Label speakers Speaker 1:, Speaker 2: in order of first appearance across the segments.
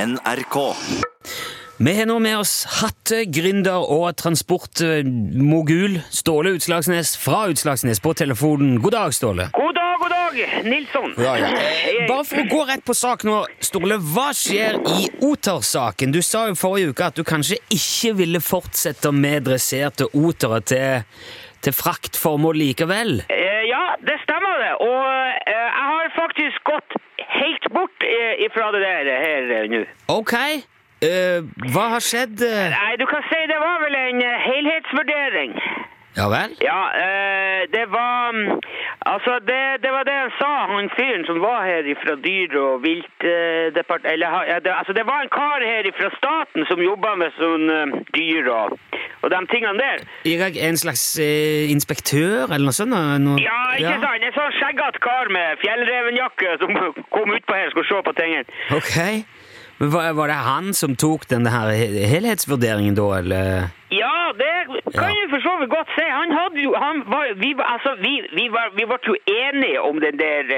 Speaker 1: NRK.
Speaker 2: Vi har nå med oss hattegründer og transportmogul Ståle Utslagsnes fra Utslagsnes på telefonen. God dag, Ståle.
Speaker 3: God dag, god dag, Nilsson.
Speaker 2: Eh, Bare for å gå rett på sak nå, Ståle. Hva skjer i otersaken? Du sa jo forrige uke at du kanskje ikke ville fortsette med dresserte otere til, til fraktformål likevel.
Speaker 3: Eh, ja, det stemmer det. Og eh, jeg har faktisk gått helt bort eh, ifra det der her eh, nå.
Speaker 2: Ok, eh, hva har skjedd? eh?
Speaker 3: Nei, du kan si det var vel en eh, helhetsvurdering.
Speaker 2: Ja vel?
Speaker 3: Ja, eh, det var mm, Altså, det, det var det han sa, han fyren som var her ifra dyr- og viltdepart... eller, ha- ja, det, altså, det var en kar her ifra staten som jobba med sånn eh, dyr og, og de tingene der.
Speaker 2: Irak er en slags eh, inspektør eller noe sånt? da? Noe,
Speaker 3: Ja, ikke
Speaker 2: ja.
Speaker 3: sant? En sånn skjeggete kar med fjellrevenjakke som kom utpå her og skulle se på tingene.
Speaker 2: Ok. Men var, var det han som tok den her he- helhetsvurderingen da, eller?
Speaker 3: Ja, det
Speaker 2: Ja.
Speaker 3: kan du for så vidt godt si. Han hadde jo han var, vi, var- altså, vi, vi, var, vi ble jo enige om den der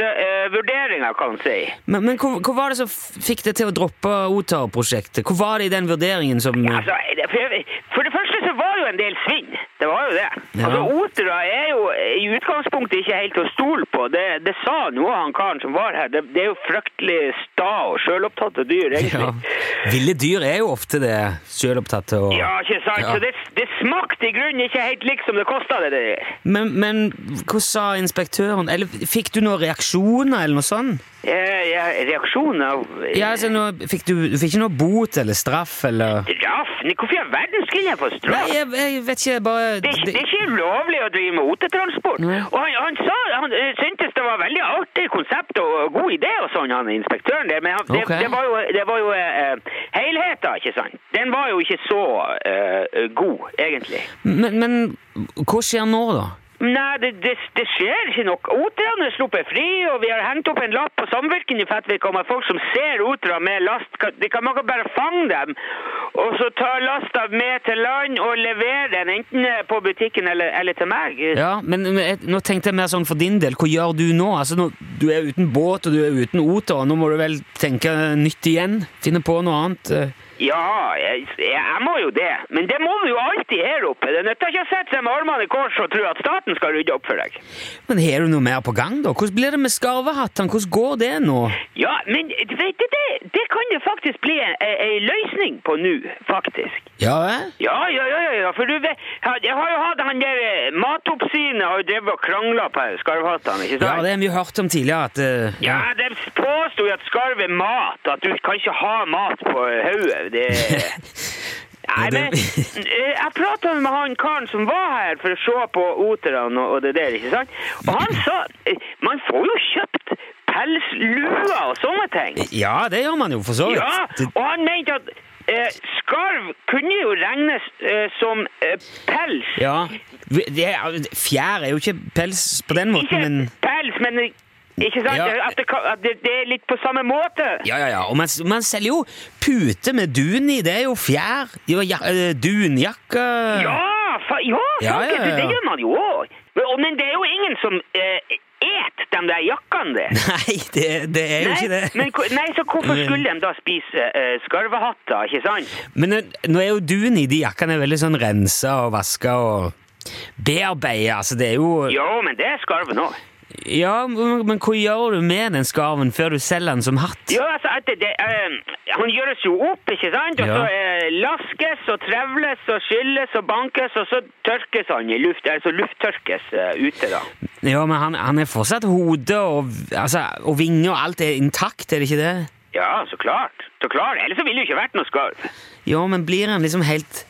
Speaker 3: helhetsvurderinga, kan du si.
Speaker 2: Men, men hvor, hvor var det som f- fikk deg til å droppe OTAR-prosjektet? Hvor var det i den vurderingen som
Speaker 3: Altså, det- for, for det første så var det jo en del svinn. Det var jo det.
Speaker 2: Ja.
Speaker 3: Altså, Otra er jo i utgangspunktet ikke helt å stole på. Det, det sa noe han karen som var her. Det, det er jo fryktelig sta og sjølopptatte dyr, egentlig.
Speaker 2: ja. Ville dyr er jo ofte det, selvopptatte og
Speaker 3: Ja, ikke sant?
Speaker 2: Ja.
Speaker 3: Så det, det smakte i grunnen ikke helt likt som det kosta det der.
Speaker 2: Men, men hva sa inspektøren? Eller fikk du noen reaksjoner, eller noe sånt?
Speaker 3: Eh, ja, reaksjonen av
Speaker 2: Ja, altså, noe, fikk du, du fikk ikke noe bot eller straff, eller
Speaker 3: Straff? Nei, Hvorfor i all verden skulle jeg få
Speaker 2: Nei,
Speaker 3: straff?
Speaker 2: jeg, jeg vet ikke, bare
Speaker 3: Det er, ikke, det er ikke ulovlig å drive med otetransport.
Speaker 2: Nei.
Speaker 3: Og han, han sa, han eh, syntes det var veldig artig konsept og og god idé og sånn, han inspektøren der, men han, det,
Speaker 2: Ok.
Speaker 3: det var jo, det var jo eh, eh, helheten, ikke sant? Den var jo ikke så eh, god, egentlig.
Speaker 2: Men, men hva skjer nå, da?
Speaker 3: Nei, det, det, det skjer ikke noe. Oterne er sluppet fri, og vi har hengt opp en lapp på samvirken i Fettvik om at folk som ser otere med last, kan, de kan, man kan bare fange dem, og så ta lasta med til land og levere den enten eh, på butikken eller, eller til meg.
Speaker 2: Ja, men men jeg, nå tenkte jeg mer sånn for din del. Hva gjør du nå? Altså, nå du er uten båt, og du er uten oter. og Nå må du vel tenke nytt igjen? Finne på noe annet? eh.
Speaker 3: Ja, jeg, jeg må jo det. Men det må vi jo alltid her oppe. Det nytter ikke å sette seg med armene i kors og tro at staten skal rydde opp for deg.
Speaker 2: Men har du noe mer på gang, da? Hvordan blir det med skarvehattene? Hvordan går det nå?
Speaker 3: Ja, men du vet du, det, det kan det faktisk bli en, en, en løsning på nå, faktisk.
Speaker 2: Ja, eh?
Speaker 3: Ja, ja, ja, ja, ja, for du vet, ha- jeg har jo hatt han der eh, matoppsynet har jo drevet og krangla på skarvhattene, ikke
Speaker 2: ja
Speaker 3: sant?
Speaker 2: det har vi jo hørt om tidligere. At, eh,
Speaker 3: Ja, de påsto jo at skarv er mat, at du kan ikke ha mat på hodet. Det Nei,
Speaker 2: Ja, det-
Speaker 3: men eh, jeg prata med han karen som var her for å se på oterne og, og det der, ikke sant? Og han sa eh, man får jo kjøpt pelsluer og sånne ting.
Speaker 2: ja, det gjør man jo for så vidt.
Speaker 3: Ja,
Speaker 2: Det-
Speaker 3: og han mente at eh, skarv kunne jo regnes eh, som eh, pels.
Speaker 2: Ja. Vi- det er- Fjær er jo ikke pels på den måten,
Speaker 3: Ikke
Speaker 2: men
Speaker 3: pels, men ikke sant?
Speaker 2: Ja.
Speaker 3: At, det, kan- at det, det er litt på samme måte.
Speaker 2: Ja, ja, ja. Og man, man selger jo pute med dun i. Det er jo fjær. Jo, ja, eh, dunjakke
Speaker 3: Ja, fa ja,
Speaker 2: Ja,
Speaker 3: faktisk,
Speaker 2: ja, ja.
Speaker 3: det gjør man jo òg. Men det er jo ingen som eh, et de der jakkene der.
Speaker 2: Nei, det, det er jo ikke det. Mm.
Speaker 3: men, hvor- nei, så hvorfor skulle de da spise eh, skarvehatter, ikke sant?
Speaker 2: Men eh, nå er jo dun i de jakkene veldig sånn rensa og vaska og bearbeida. Altså, det er jo
Speaker 3: Jo, men det er skarven òg.
Speaker 2: Ja, men men hva gjør du med den skarven før du selger den som hatt?
Speaker 3: Ja, altså, at det, det, eh, han gjøres jo opp, ikke sant? Og
Speaker 2: Ja.
Speaker 3: så eh, laskes og trevles og skylles og bankes, og så tørkes han i luft, altså lufttørkes eh, ute, da.
Speaker 2: Ja, men han, han er fortsatt hode og, altså, og vinger og alt er intakt, er det ikke det?
Speaker 3: Ja, så klart. Så klart. Ellers så ville det jo ikke vært noe skarv.
Speaker 2: Ja, men blir han liksom helt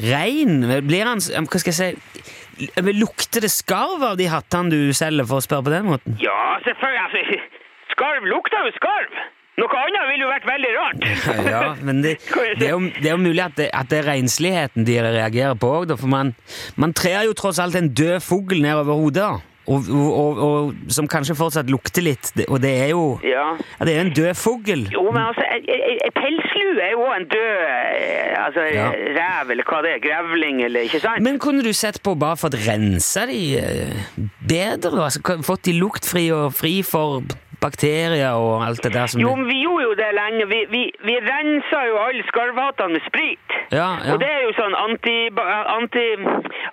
Speaker 2: rein? Blir han s- Hva skal jeg si Lukter det skarv av de hattene du selger, for å spørre på den måten?
Speaker 3: Ja, selvfølgelig. Altså, skarv lukter jo skarv. Noe annet ville jo vært veldig rart.
Speaker 2: Ja, men det,
Speaker 3: Kan jeg si?
Speaker 2: det, er, jo, det er jo mulig at det, at det er rensligheten de reagerer på òg, for man, man trer jo tross alt en død fugl ned over hodet. Og, og, og, og, som kanskje fortsatt lukter litt, det- og det er jo
Speaker 3: Ja.
Speaker 2: ja, Det er jo en død fugl.
Speaker 3: Jo, men altså, ei- ei- ei pelslue er jo også en død eh, altså,
Speaker 2: Ja.
Speaker 3: rev, eller hva det er, grevling, eller ikke sant?
Speaker 2: Men kunne du sett på bare fått rensa de eh, bedre? da? Altså, hva- fått de luktfri og fri for bakterier og alt det der som
Speaker 3: Jo, men vi gjorde jo det lenge. Vi, vi, vi rensa jo alle skarvhatene med sprit.
Speaker 2: Ja, ja.
Speaker 3: Og det er jo sånn anti, anti...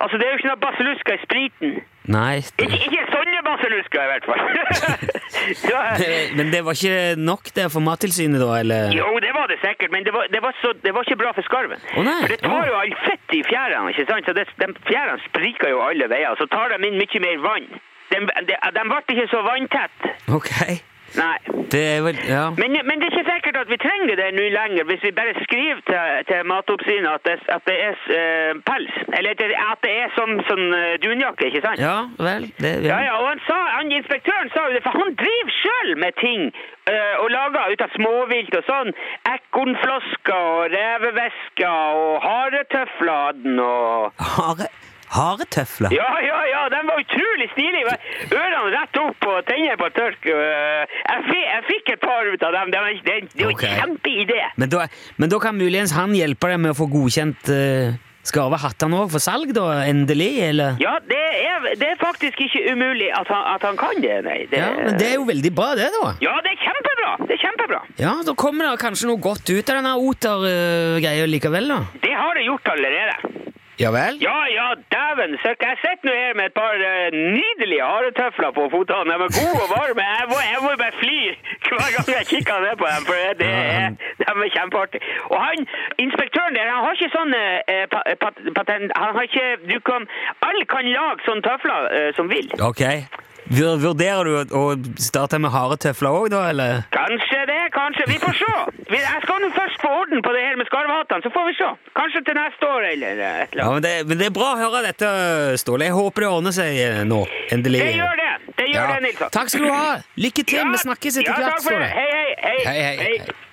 Speaker 3: Altså, det er jo ikke noe basilluska i spriten.
Speaker 2: Nei.
Speaker 3: Ikke,
Speaker 2: Det...
Speaker 3: ikke sånne basilluska, i hvert fall. ja.
Speaker 2: Men det var ikke nok der for Mattilsynet, da? eller?
Speaker 3: Jo, det var det sikkert, men det var, det var, så, det var ikke bra for skarven.
Speaker 2: Å, nei.
Speaker 3: For det tar
Speaker 2: Å.
Speaker 3: jo all fett i fjærene, ikke sant? Så det, de fjærene spriker jo alle veier, så tar de inn mye mer vann. De, de, de ble ikke så vanntett.
Speaker 2: Ok.
Speaker 3: Nei.
Speaker 2: Det er vel Ja.
Speaker 3: Men, men det er ikke sikkert at vi trenger det nå lenger, hvis vi bare skriver til, til Matoppsynet at det, at det er eh, pels. Eller at det, at det er sånn, sånn eh, dunjakke, ikke sant?
Speaker 2: Ja vel. Det,
Speaker 3: Ja, ja, og han sa, han, Inspektøren sa jo det, for han driver sjøl med ting eh, og lager ut av småvilt og sånn. Ekornflasker og revevesker og haretøfler hadde han og
Speaker 2: Hare, haretøfler?
Speaker 3: ja, ja, ja, de var utrolig stilige. Ørene rett opp og tenner på tørk. eh, Jeg, fi- jeg fikk et par ut av dem. Det var, det, det var
Speaker 2: Ok.
Speaker 3: en kjempeidé.
Speaker 2: Men, da, men da kan muligens han hjelpe deg med å få godkjent uh, skarvehattene òg for salg, da? Endelig, eller?
Speaker 3: Ja, det er, det er faktisk ikke umulig at han, at han kan det, nei. Det,
Speaker 2: Ja, men det er jo veldig bra, det, da.
Speaker 3: Ja, det er kjempebra! Det er kjempebra.
Speaker 2: Ja, Da kommer det kanskje noe godt ut av denne oter-greia likevel, da.
Speaker 3: Det har det gjort allerede.
Speaker 2: Ja vel?
Speaker 3: Ja, ja, dæven søkk. Jeg sitter nå her med et par eh, nydelige haretøfler på føttene. De er gode og varme. Jeg må, jeg må bare fly hver gang jeg kikker ned på dem, for det er, de er kjempeartige. Og han, inspektøren der, han har ikke sånn eh, pa, pat, patent... Han har ikke Du kan Alle kan lage sånne tøfler eh, som vil.
Speaker 2: Ok. Vur- Vurderer du å å starte med haretøfler òg, da, eller?
Speaker 3: Kanskje det, kanskje. Vi får se. Vi- Jeg skal nå først få orden på det her med skarvhattene, så får vi se. Kanskje til neste år eller eh, et eller
Speaker 2: Ja,
Speaker 3: annet.
Speaker 2: men det, men det er bra å høre dette, Ståle. Jeg håper det ordner seg eh, nå. Endelig.
Speaker 3: Det gjør det. Det gjør
Speaker 2: Ja.
Speaker 3: det, Nilsson.
Speaker 2: Takk skal du ha. Lykke til. Vi snakkes etter
Speaker 3: ja,
Speaker 2: hvert,
Speaker 3: takk for det.
Speaker 2: Ståle.
Speaker 3: Hei, hei, hei.
Speaker 2: Hei, hei, hei.